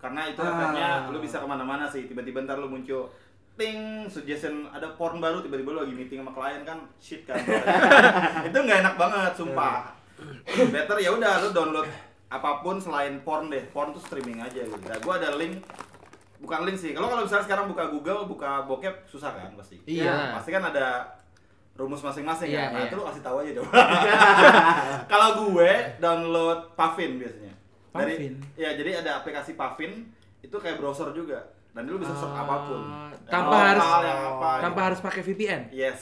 Speaker 3: karena itu
Speaker 2: Ah.
Speaker 3: efeknya lu bisa kemana-mana sih tiba-tiba ntar lu muncul ting suggestion ada porn baru tiba-tiba lu lagi meeting sama klien kan shit
Speaker 2: <laughs>
Speaker 3: kan <laughs> itu nggak enak banget sumpah better ya udah lu download apapun selain porn deh porn tuh streaming aja gitu nah, gue ada link bukan link sih kalau kalau misalnya sekarang buka Google buka bokep susah kan pasti
Speaker 4: Iya.
Speaker 3: pasti kan ada rumus masing-masing ya
Speaker 4: Iya,
Speaker 3: nah
Speaker 4: iya.
Speaker 3: itu lu kasih tahu aja dong
Speaker 1: Iya.
Speaker 3: <laughs> kalau gue download Puffin biasanya
Speaker 1: Puffin?
Speaker 3: ya jadi ada aplikasi Puffin itu kayak browser juga dan lu bisa search
Speaker 1: Ah,
Speaker 3: apapun
Speaker 1: tanpa
Speaker 3: Yang
Speaker 1: harus-
Speaker 3: lokal, yang apa,
Speaker 1: Tanpa
Speaker 3: gitu.
Speaker 1: harus pakai VPN.
Speaker 3: yes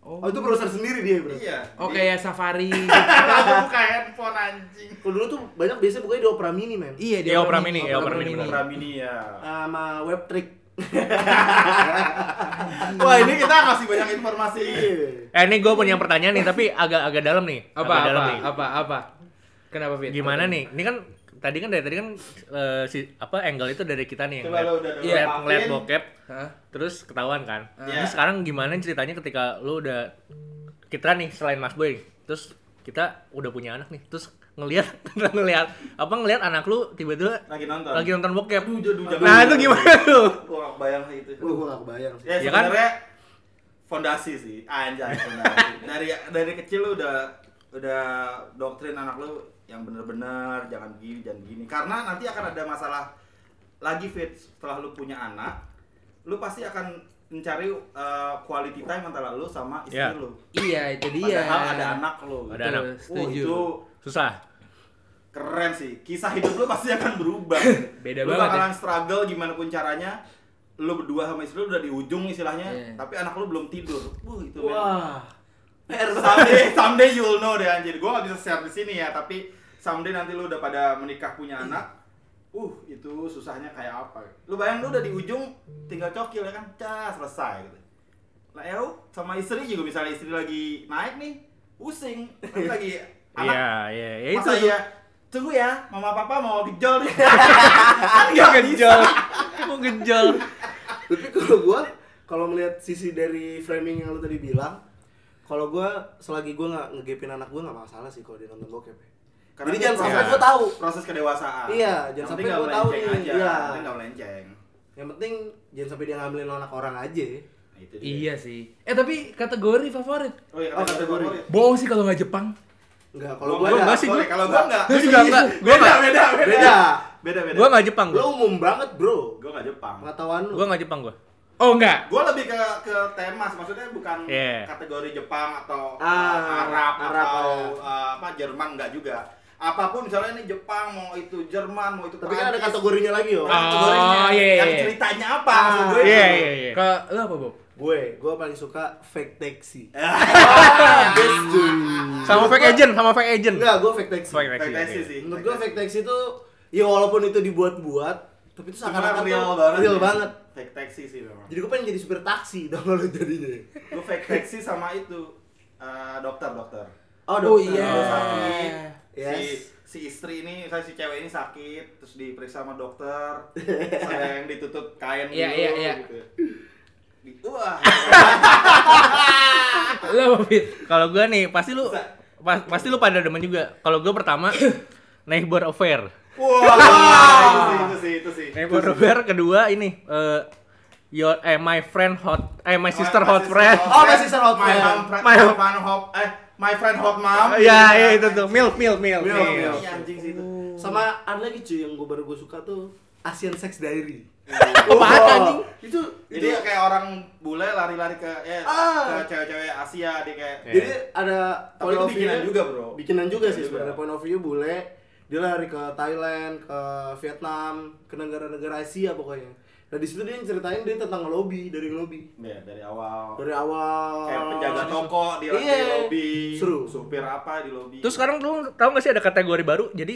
Speaker 2: Oh itu browser sendiri dia bro.
Speaker 3: iya
Speaker 1: Oke
Speaker 3: Jadi-
Speaker 1: ya <laughs> Safari.
Speaker 3: Langsung buka handphone anjing
Speaker 2: Kalau dulu tuh banyak biasanya bukanya di Opera Mini men.
Speaker 1: iya
Speaker 4: Iya, Opera Mini, iya, Opera Mini,
Speaker 3: Program ini ya
Speaker 2: Sama Webtrick.
Speaker 3: Wah ini kita ngasih banyak informasi Iya.
Speaker 4: Eh ini gue punya pertanyaan nih tapi agak-agak dalam nih.
Speaker 1: Apa
Speaker 4: Agak
Speaker 1: apa
Speaker 4: dalam nih.
Speaker 1: apa apa? Kenapa Fit?
Speaker 4: Gimana nih? Ini kan tadi kan dari tadi kan eh, si apa angle itu dari kita nih. yang
Speaker 3: Coba
Speaker 4: ngeliat-
Speaker 3: lo udah dulu
Speaker 4: Iya,
Speaker 3: maafin.
Speaker 4: ngeliat bokep
Speaker 1: Hah?
Speaker 4: terus ketahuan kan.
Speaker 3: Iya.
Speaker 4: Terus sekarang gimana ceritanya ketika lo udah kita nih selain Mas Boy terus kita udah punya anak nih terus <laughs> ngelihat ngelihat apa ngelihat anak lu tiba-tiba
Speaker 3: Lagi nonton
Speaker 4: lagi nonton bokep.
Speaker 3: jadu, jadu.
Speaker 4: Nah, itu gimana tuh?
Speaker 3: Gue gak bayang sih itu
Speaker 2: Gue gak kebayang sih.
Speaker 3: Ya
Speaker 4: Ya kan?
Speaker 3: sebenarnya fondasi sih Anjay
Speaker 4: <laughs>
Speaker 3: fondasi Dari dari kecil lu udah udah doktrin anak lu yang bener-bener jangan gini jangan gini karena nanti akan ada masalah lagi fit setelah lu punya anak lu pasti akan mencari uh, quality time antara lu sama istri
Speaker 4: Iya.
Speaker 3: lu
Speaker 1: Iya itu dia.
Speaker 3: padahal ada anak lu
Speaker 4: Ada anak.
Speaker 3: Oh,
Speaker 1: Setuju.
Speaker 3: itu
Speaker 4: Susah.
Speaker 3: keren sih kisah hidup lu pasti akan berubah
Speaker 1: <laughs> Beda banget
Speaker 3: lu
Speaker 1: ya.
Speaker 3: bakalan struggle gimana pun caranya lu berdua sama istri lu udah di ujung istilahnya
Speaker 1: Iya.
Speaker 3: tapi anak lu belum tidur wah itu men
Speaker 2: Wah. PR banget.
Speaker 3: someday someday you'll know deh anjir gua gak bisa share di sini ya tapi someday nanti lu udah pada menikah punya anak uh itu susahnya kayak apa lu bayang lu udah di ujung tinggal cokil ya kan cah selesai gitu lah ya lu sama istri juga misalnya istri lagi naik nih pusing Nanti lagi anak
Speaker 4: Iya, iya, ya itu.
Speaker 3: Masa iya? Tunggu ya, mama papa mau gejol <laughs> nih. kan gak bisa.
Speaker 4: Mau gejol.
Speaker 2: Tapi kalau gua kalau melihat sisi dari framing yang lu tadi bilang, kalau gua selagi gua nggak ngegepin anak gua nggak masalah sih kalau dia nonton bokep. ya. Jadi jangan
Speaker 3: dia proses-
Speaker 2: sampai gua tahu.
Speaker 3: Proses kedewasaan.
Speaker 2: Iya, jangan
Speaker 3: Yang
Speaker 2: sampai
Speaker 3: penting
Speaker 2: gua
Speaker 3: gak
Speaker 2: tahu
Speaker 3: melenceng
Speaker 2: nih.
Speaker 3: aja.
Speaker 2: Iya.
Speaker 3: Yang penting gak melenceng.
Speaker 2: Yang penting jangan sampai dia ngambilin anak orang aja.
Speaker 3: Nah, itu dia.
Speaker 1: Iya sih. Eh tapi kategori favorit.
Speaker 3: Oh, iya,
Speaker 2: Oh,
Speaker 3: kata
Speaker 2: kategori.
Speaker 3: kategori.
Speaker 1: Bohong sih kalau nggak Jepang.
Speaker 2: Enggak, kalau
Speaker 3: Gua
Speaker 2: gua
Speaker 3: nggak
Speaker 2: ada.
Speaker 3: sih, gua- kalau gua nggak.
Speaker 4: Gue juga enggak. Gue
Speaker 3: Beda,
Speaker 4: enggak.
Speaker 3: beda, beda.
Speaker 2: Beda.
Speaker 3: Beda, beda.
Speaker 4: Gue enggak Jepang
Speaker 2: Lu
Speaker 4: gue.
Speaker 2: umum banget, Bro.
Speaker 3: Gue gak Jepang.
Speaker 2: Pengetahuan lu.
Speaker 4: Gue enggak Jepang gue.
Speaker 1: Oh enggak.
Speaker 3: Gue lebih ke ke tema, maksudnya bukan
Speaker 4: Iya.
Speaker 3: kategori Jepang atau
Speaker 2: Ah,
Speaker 3: uh, Arab,
Speaker 2: Arab,
Speaker 3: atau
Speaker 2: ya.
Speaker 3: uh, apa Jerman nggak juga. Apapun misalnya ini Jepang mau itu Jerman mau itu
Speaker 2: Tapi kan ada
Speaker 3: Prancis,
Speaker 2: kategorinya lagi, yo.
Speaker 4: Ah.
Speaker 3: kategorinya
Speaker 4: iya, iya,
Speaker 3: yang
Speaker 4: iya.
Speaker 3: ceritanya apa
Speaker 2: Ah,
Speaker 3: maksud gue
Speaker 4: Iya,
Speaker 3: itu.
Speaker 4: iya, iya.
Speaker 1: Ke lu apa Bob?
Speaker 2: Gue, gue paling suka fake taxi.
Speaker 4: Sama fake agent, sama fake agent.
Speaker 2: Enggak, gue fake taxi.
Speaker 4: Fake agent.
Speaker 3: Fantasi sih
Speaker 2: Menurut gue fake taxi itu ya walaupun itu dibuat-buat, tapi itu seakan-akan tuh
Speaker 3: sekarang real banget
Speaker 2: Real
Speaker 3: ya.
Speaker 2: banget.
Speaker 3: fake taxi sih memang
Speaker 2: Jadi gue pengen jadi supir taksi <laughs> dong kalau jadinya.
Speaker 3: gue fake taxi sama itu eh, dokter dokter
Speaker 1: Oh,
Speaker 2: dokter.
Speaker 1: iya.
Speaker 3: Lu sakit si
Speaker 2: Ah, Yes.
Speaker 3: si istri ini saya si cewek ini sakit terus diperiksa sama
Speaker 2: <laughs>
Speaker 3: dokter terus ada yang ditutup kain
Speaker 1: Iya,
Speaker 3: dulu
Speaker 1: iya, iya.
Speaker 3: gitu Di- wah
Speaker 2: Ah!
Speaker 1: Lu apa Fit?
Speaker 4: Kalau gue nih pasti lu pas- pasti lu pada demen juga. Kalau gue <coughs> pertama neighbor affair.
Speaker 3: wah itu sih itu sih itu sih
Speaker 4: Neighbor affair kedua ini eh, your eh my friend hot eh my sister hot friend.
Speaker 2: Oh, my sister hot friend.
Speaker 3: my
Speaker 4: My-
Speaker 3: friend hot eh my friend hot mom
Speaker 4: <laughs> <laughs> Iya, iya itu tuh. Milf, milf, milf.
Speaker 2: Milf,
Speaker 4: milf.
Speaker 2: milf.
Speaker 3: Iya, anjing sih itu
Speaker 2: Sama ada lagi cuy yang gue baru gue suka tuh Asian Sex Diary.
Speaker 4: Oh, Apaan, anjing?
Speaker 2: Itu
Speaker 3: Jadi
Speaker 2: itu-
Speaker 3: kayak orang bule lari-lari ke ya,
Speaker 2: Ah.
Speaker 3: ke cewek-cewek Asia dia kayak
Speaker 4: Iya.
Speaker 2: Jadi ada
Speaker 3: eh, Tapi itu bikinan juga, bro.
Speaker 2: Bikinan juga sih sebenarnya
Speaker 3: Bikinan juga.
Speaker 2: point of view bule. Dia lari ke Thailand, ke Vietnam, ke negara-negara Asia pokoknya. Nah di situ dia yang ceritain dia tentang ngelobi dari ngelobi
Speaker 3: Iya, dari awal
Speaker 2: dari awal.
Speaker 3: kayak penjaga toko di,
Speaker 2: Oh. Iya.
Speaker 3: di lobi,
Speaker 2: Seru.
Speaker 3: supir apa di lobi.
Speaker 4: Terus sekarang lu tahu gak sih ada kategori baru? Jadi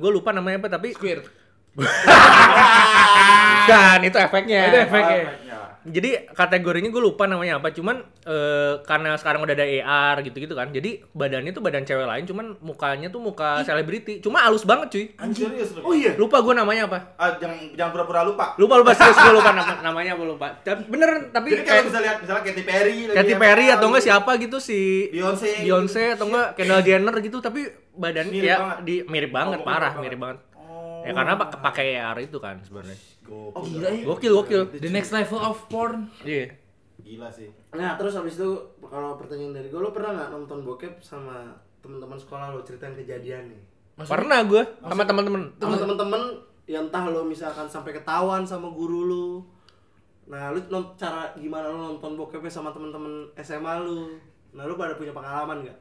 Speaker 4: gue eh, lupa namanya apa tapi
Speaker 1: Squirt.
Speaker 4: <laughs> Bukan, itu efeknya.
Speaker 1: Itu efeknya.
Speaker 4: Jadi kategorinya gue lupa namanya apa, cuman eh, karena sekarang udah ada AR gitu-gitu kan. Jadi badannya tuh badan cewek lain, cuman mukanya tuh muka selebriti. Cuma halus banget cuy.
Speaker 2: Anjing.
Speaker 3: Serius lu?
Speaker 2: Oh iya.
Speaker 4: Lupa gue namanya apa.
Speaker 3: Ah, jangan jangan pura-pura lupa.
Speaker 4: Lupa lupa serius gue lupa nama- namanya gue lupa. Tapi bener tapi
Speaker 3: Jadi kalau bisa lihat misalnya Iya, Katy Perry lagi
Speaker 4: Katy
Speaker 3: yang
Speaker 4: Perry
Speaker 3: kenal
Speaker 4: atau enggak
Speaker 3: gitu.
Speaker 4: siapa gitu si
Speaker 3: Beyonce.
Speaker 4: Beyonce atau enggak Kendall Jenner gitu tapi badan
Speaker 3: Iya. Mirip
Speaker 4: ya
Speaker 3: banget.
Speaker 4: di mirip banget
Speaker 3: Oh,
Speaker 4: parah mirip
Speaker 3: mirip
Speaker 4: banget.
Speaker 3: Oh. Iya.
Speaker 4: Ya karena pak pakai AR itu kan sebenarnya.
Speaker 3: Gokil.
Speaker 2: Oh gila ya.
Speaker 4: Gokil gokil.
Speaker 1: The next level of porn.
Speaker 4: Iya.
Speaker 3: Gila sih.
Speaker 2: Nah terus habis itu kalau pertanyaan dari gue, lo pernah nggak nonton bokep sama teman-teman sekolah lo ceritain kejadian nih?
Speaker 1: Maksudnya
Speaker 4: Pernah gue sama teman-teman.
Speaker 2: Sama temen-temen yang entah lo misalkan sampai ketahuan sama guru lo. Nah lu non- cara gimana lo nonton bokepnya sama temen-temen SMA lo? Nah lu pada punya pengalaman nggak?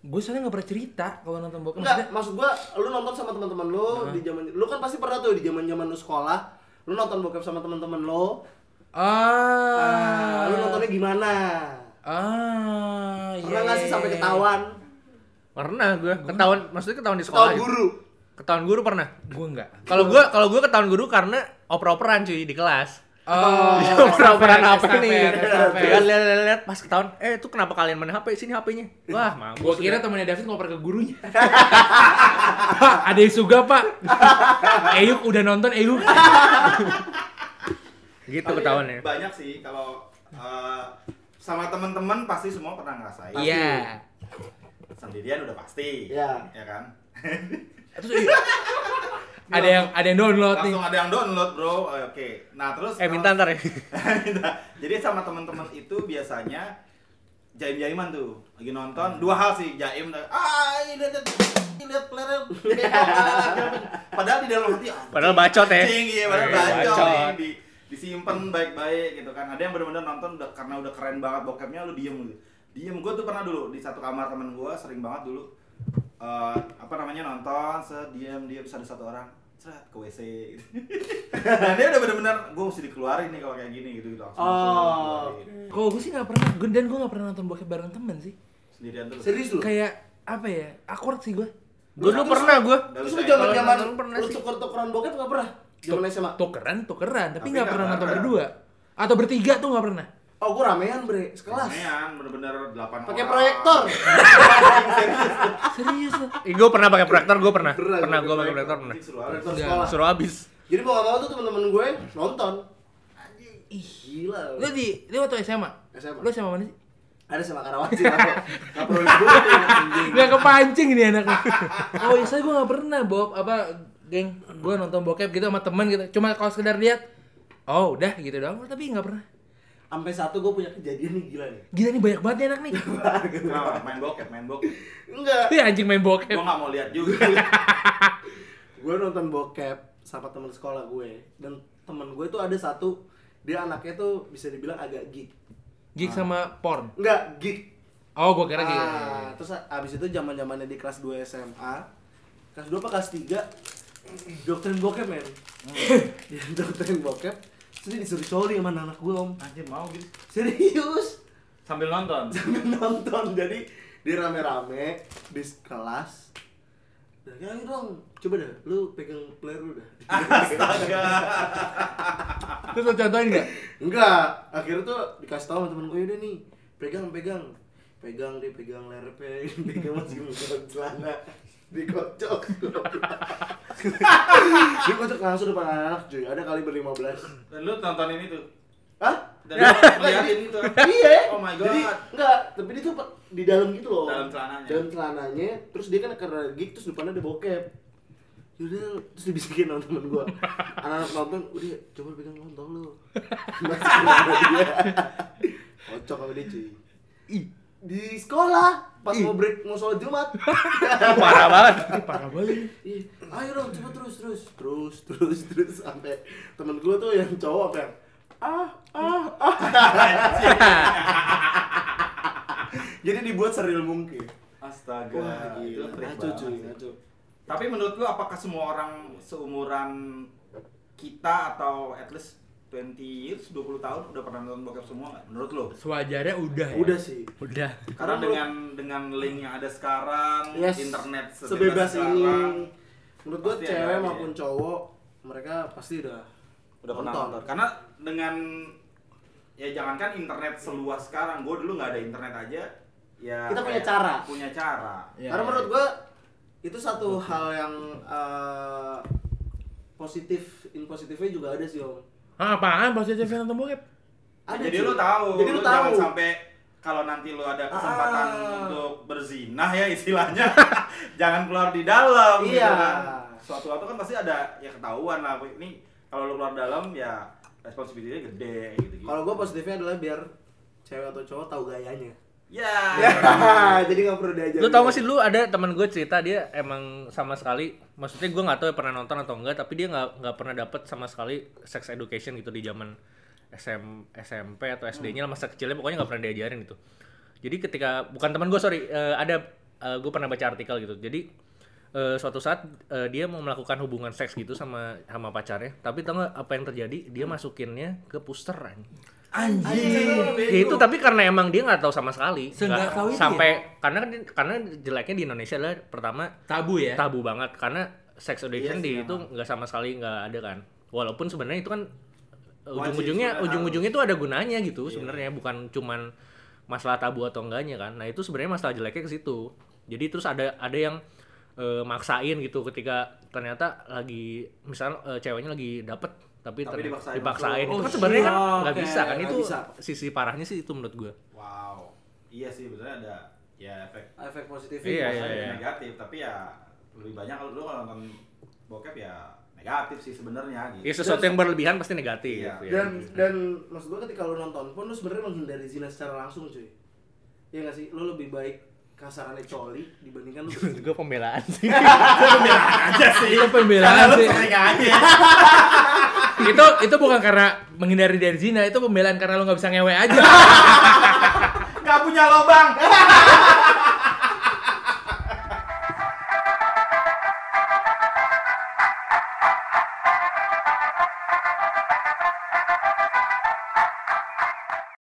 Speaker 1: gue soalnya nggak pernah cerita kalau nonton bokep. Maksudnya,
Speaker 2: Enggak, maksud gua lu nonton sama teman-teman lu di zaman lu kan pasti pernah tuh di zaman-zaman lu sekolah, lu nonton bokep sama teman-teman lu.
Speaker 1: ah,
Speaker 2: Ah, lu nontonnya gimana?
Speaker 1: ah, iya,
Speaker 2: Pernah nggak sih
Speaker 1: iya,
Speaker 2: sampai
Speaker 1: iya.
Speaker 2: ketahuan?
Speaker 4: Pernah gue ketahuan maksudnya ketahuan di sekolah.
Speaker 2: Ketahuan
Speaker 4: gitu.
Speaker 2: guru.
Speaker 4: Ketahuan guru pernah.
Speaker 1: Gue nggak.
Speaker 4: Kalau gue kalau gue ketahuan guru karena oper-operan cuy di kelas.
Speaker 1: Oh,
Speaker 4: Dia oper-operan
Speaker 1: estafet,
Speaker 4: apa nih?
Speaker 1: estafet, estafet.
Speaker 4: Dia kan lihat-lihat pas ketahuan, eh itu kenapa kalian main HP? Sini HP-nya. Wah, mampus.
Speaker 1: Gua kira temannya David ngoper ke gurunya. <laughs> pak, ada yang suga pak. <laughs> Eyuk udah nonton
Speaker 2: <laughs>
Speaker 1: Eyuk.
Speaker 4: gitu
Speaker 3: Tapi
Speaker 4: ketahuannya.
Speaker 3: Banyak sih kalau eh, sama teman-teman pasti semua pernah ngerasain.
Speaker 1: Iya.
Speaker 3: Sendirian udah pasti.
Speaker 2: Iya.
Speaker 3: Ya kan?
Speaker 1: Terus Eyuk, <laughs> ada yang ada yang download nih.
Speaker 3: Langsung ada yang download, Bro. Eh, Oke. Nah, terus
Speaker 4: Eh
Speaker 3: kalau-
Speaker 4: minta ntar ya. <laughs>
Speaker 3: Nah, Jadi sama teman-teman itu biasanya jaim-jaiman tuh lagi nonton dua hal sih jaim dan ah ini lihat lihat lihat player padahal di dalam hati ah,
Speaker 4: Padahal bacot ya.
Speaker 3: cing, iya, padahal
Speaker 4: Eh,
Speaker 3: bacot,
Speaker 4: bacot.
Speaker 3: nih, di, disimpan baik-baik gitu kan ada yang benar-benar nonton udah, karena udah keren banget bokepnya lu diem gitu diem gue tuh pernah dulu di satu kamar temen gue sering banget dulu eh, apa namanya nonton sediam diam satu satu orang seret ke <laughs> wc gitu. nah dia udah benar-benar gue mesti dikeluarin nih kalau kayak gini gitu gitu langsung
Speaker 2: Oh,
Speaker 3: dikeluarin.
Speaker 1: Kalau gue sih nggak pernah. Gue dan gue nggak pernah nonton bokep bareng temen sih.
Speaker 3: sendirian terus
Speaker 2: Serius lu?
Speaker 1: Kayak apa ya? Awkward sih gue.
Speaker 4: Gue dulu pernah gue.
Speaker 2: Terus lu zaman-zaman
Speaker 4: Kalau nonton pernah
Speaker 2: lu
Speaker 4: sih.
Speaker 2: tuker-tukeran bokep nggak pernah? Zaman SMA.
Speaker 1: Tukeran, tukeran, tapi
Speaker 3: Tapi
Speaker 1: nggak
Speaker 3: nggak
Speaker 1: pernah nonton
Speaker 3: bareng.
Speaker 1: berdua. Atau bertiga tuh nggak pernah.
Speaker 2: Oh, gua ramean, Bre, sekelas.
Speaker 3: Ramean, bener-bener delapan
Speaker 2: Pakai
Speaker 3: orang.
Speaker 2: proyektor.
Speaker 1: Serius loh.
Speaker 4: Eh, gue pernah pakai proyektor, gue pernah.
Speaker 2: Pernah,
Speaker 4: Pernah
Speaker 2: gua
Speaker 4: gue
Speaker 2: pakai
Speaker 4: pakai proyektor pernah.
Speaker 3: Anjing, suruh
Speaker 2: Proyektor ya.
Speaker 3: Alex.
Speaker 2: sekolah.
Speaker 4: Suruh habis.
Speaker 2: Jadi mau gak mau tuh temen-temen gue nonton. Ih, gila. lu.
Speaker 1: Lu di, lu waktu SMA?
Speaker 2: SMA.
Speaker 1: Lu SMA mana sih?
Speaker 2: Ada sama Karawaci apa? Gak perlu disebutin, anjing.
Speaker 1: Gak kepancing nih anaknya. <laughs> Oh iya, saya gue gak pernah Bob apa geng gue nonton bokep gitu sama temen gitu. Cuma kalau sekedar lihat, oh udah gitu doang. Tapi gak pernah.
Speaker 2: Sampai satu gue punya kejadian nih gila nih.
Speaker 1: Gila nih banyak banget nih <laughs> anak nih.
Speaker 3: Nah, main bokep, main bokep.
Speaker 2: Enggak.
Speaker 1: Wih Iya, anjing main bokep.
Speaker 3: Gua nggak mau lihat juga.
Speaker 2: <laughs> Gue nonton bokep sama temen sekolah gue dan temen gue tuh ada satu dia anaknya tuh bisa dibilang agak geek.
Speaker 1: Gig sama porn.
Speaker 2: Enggak, geek.
Speaker 1: Oh gue kira gitu.
Speaker 2: Ah, terus abis itu zaman zamannya di kelas 2 SMA kelas 2 apa kelas 3 doktrin bokep men <laughs> dia doktrin bokep terus dia disuruh coli sama anak gue om
Speaker 3: Anjir mau gitu.
Speaker 2: serius
Speaker 3: Sambil nonton.
Speaker 2: sambil nonton jadi dia rame-rame di kelas dan kayak "Ayo dong coba dah lu pegang player lu dah
Speaker 3: Astaga.
Speaker 1: Terus lo contohin gak?
Speaker 2: enggak akhirnya tuh dikasih tahu sama temen gue udah nih pegang pegang pegang dia pegang leher pegang <laughs> pegang masih pegang celana dikocok dikocok langsung depan anak cuy ada kali ber 15
Speaker 3: Dan lu nonton ini tuh.
Speaker 2: Hah?
Speaker 3: Dan
Speaker 2: <laughs>
Speaker 3: lu liatin itu.
Speaker 2: iya
Speaker 3: Oh my god.
Speaker 2: jadi enggak tapi dia tuh pe- di dalam gitu loh
Speaker 3: Dalam celananya.
Speaker 2: dalam celananya terus dia kan karena gig terus depannya ada bokep Yaudah, terus dibisikin sama temen
Speaker 3: <laughs>
Speaker 2: gua Anak-anak nonton, udah coba pegang lontong lu <laughs> Masih ada dia Kocok sama dia cuy
Speaker 1: Ih,
Speaker 2: Di sekolah, pas mau break, mau sholat Jumat
Speaker 4: Parah banget.
Speaker 1: ini parah banget. nih.
Speaker 2: Ih, Iya. ayo dong coba terus terus terus terus terus sampai temen gue tuh yang cowok kan ah ah ah jadi dibuat seril mungkin
Speaker 3: Astaga.
Speaker 2: wah
Speaker 3: itu
Speaker 2: gila
Speaker 3: freak
Speaker 2: ngaco cuy
Speaker 3: banget.
Speaker 2: ngaco
Speaker 3: Tapi menurut lu apakah semua orang seumuran kita atau at least 20 years, 20 tahun udah pernah nonton bokep semua nggak? Menurut lu?
Speaker 1: Sewajarnya udah. ya?
Speaker 2: udah sih
Speaker 1: Udah.
Speaker 3: Karena
Speaker 2: Karena
Speaker 3: dengan dengan link yang ada sekarang,
Speaker 2: Yes,
Speaker 3: internet
Speaker 2: sebebas ini menurut gue
Speaker 3: Pasti ada
Speaker 2: cewek
Speaker 3: aja.
Speaker 2: maupun cowok mereka pasti udah
Speaker 3: udah pernah nonton karena dengan ya jangankan internet seluas sekarang gue dulu nggak ada internet aja ya
Speaker 2: Kita punya
Speaker 3: kayak
Speaker 2: cara.
Speaker 3: punya cara
Speaker 1: Iya, iya.
Speaker 2: Karena
Speaker 3: ya.
Speaker 2: menurut gua itu satu hal yang eh, positif, in positifnya juga ada sih om.
Speaker 1: Hah, apaan positifnya nonton bokep?
Speaker 2: Ada
Speaker 3: jadi
Speaker 2: cuy.
Speaker 3: lu tahu
Speaker 2: Jadi lu tahu.
Speaker 3: jangan sampai kalau nanti lu ada kesempatan
Speaker 2: Ah.
Speaker 3: untuk berzinah ya istilahnya <laughs> jangan keluar di dalam gitu
Speaker 2: Iya.
Speaker 3: kan. suatu waktu kan pasti ada ya ketahuan lah ini kalau lu keluar dalam ya responsibilitasnya gede gitu gitu
Speaker 2: Kalau gua positifnya adalah biar cewek atau cowok tahu gayanya.
Speaker 3: ya
Speaker 2: <laughs> jadi nggak perlu diajarin.
Speaker 4: Lu tau gak sih lu ada teman gue cerita dia emang sama sekali maksudnya gue nggak tahu ya pernah nonton atau enggak tapi dia nggak nggak pernah dapet sama sekali sex education gitu di zaman SM, SMP atau SD-nya masa kecilnya pokoknya nggak pernah diajarin gitu. Jadi ketika bukan teman gue sorry eh, ada gue pernah baca artikel gitu. Jadi eh, suatu saat eh, dia mau melakukan hubungan seks gitu sama sama pacarnya tapi tau nggak apa yang terjadi dia masukinnya ke puster anjing.
Speaker 3: Iya,
Speaker 4: Ya itu tapi karena emang dia nggak tahu sama sekali.
Speaker 1: Iya, Seenggak
Speaker 4: Nggak-
Speaker 1: tahu itu ya?
Speaker 4: sampai karena kan di- karena jeleknya di Indonesia adalah pertama
Speaker 1: Tabu ya?
Speaker 4: tabu banget karena sex
Speaker 3: Iya
Speaker 4: education di
Speaker 3: sih,
Speaker 4: itu nggak sama sekali nggak ada kan. Walaupun sebenarnya itu kan
Speaker 3: Wajib Iya.
Speaker 4: uh, ujung-ujungnya
Speaker 3: sebenarnya
Speaker 4: ujung-ujungnya itu ada gunanya gitu sebenarnya bukan cuman masalah tabu atau enggaknya kan. Nah, itu sebenarnya masalah jeleknya ke situ. Jadi terus ada ada yang uh, maksain gitu ketika ternyata lagi misalnya uh, ceweknya lagi dapet tapi,
Speaker 3: Tapi
Speaker 4: ternyata-
Speaker 3: dipaksain
Speaker 4: dipaksain.
Speaker 3: langsung. iya,
Speaker 4: Itu kan
Speaker 2: Oh,
Speaker 4: sebenarnya kan
Speaker 2: shit.
Speaker 4: nggak
Speaker 2: Oke,
Speaker 4: bisa kan
Speaker 2: nggak
Speaker 4: itu
Speaker 2: bisa.
Speaker 4: sisi parahnya sih itu menurut gua.
Speaker 3: wow iya sih sebenarnya ada ya efek
Speaker 2: Efek positifnya.
Speaker 4: Iya,
Speaker 3: Iya,
Speaker 4: iya, iya.
Speaker 3: negatif tapi ya lebih banyak kalau lu kalau nonton bokep ya negatif sih sebenarnya gitu.
Speaker 4: Ya sesuatu yang berlebihan pasti negatif.
Speaker 3: Iya.
Speaker 4: ya.
Speaker 2: Dan dan maksud gua ketika lu nonton pun lu sebenarnya menghindari zina secara langsung cuy. Iya nggak sih? Lu lebih baik kasarannya coli dibandingkan lu.
Speaker 4: Menurut Kan <laughs> gua pembelaan sih.
Speaker 3: aja sih.
Speaker 1: Itu pembelaan
Speaker 3: Karena lu
Speaker 1: sih.
Speaker 3: sering aja.
Speaker 1: <laughs> itu itu bukan karena menghindari dari zina, itu pembelaan karena lu nggak bisa ngewe aja.
Speaker 3: Gak punya lobang.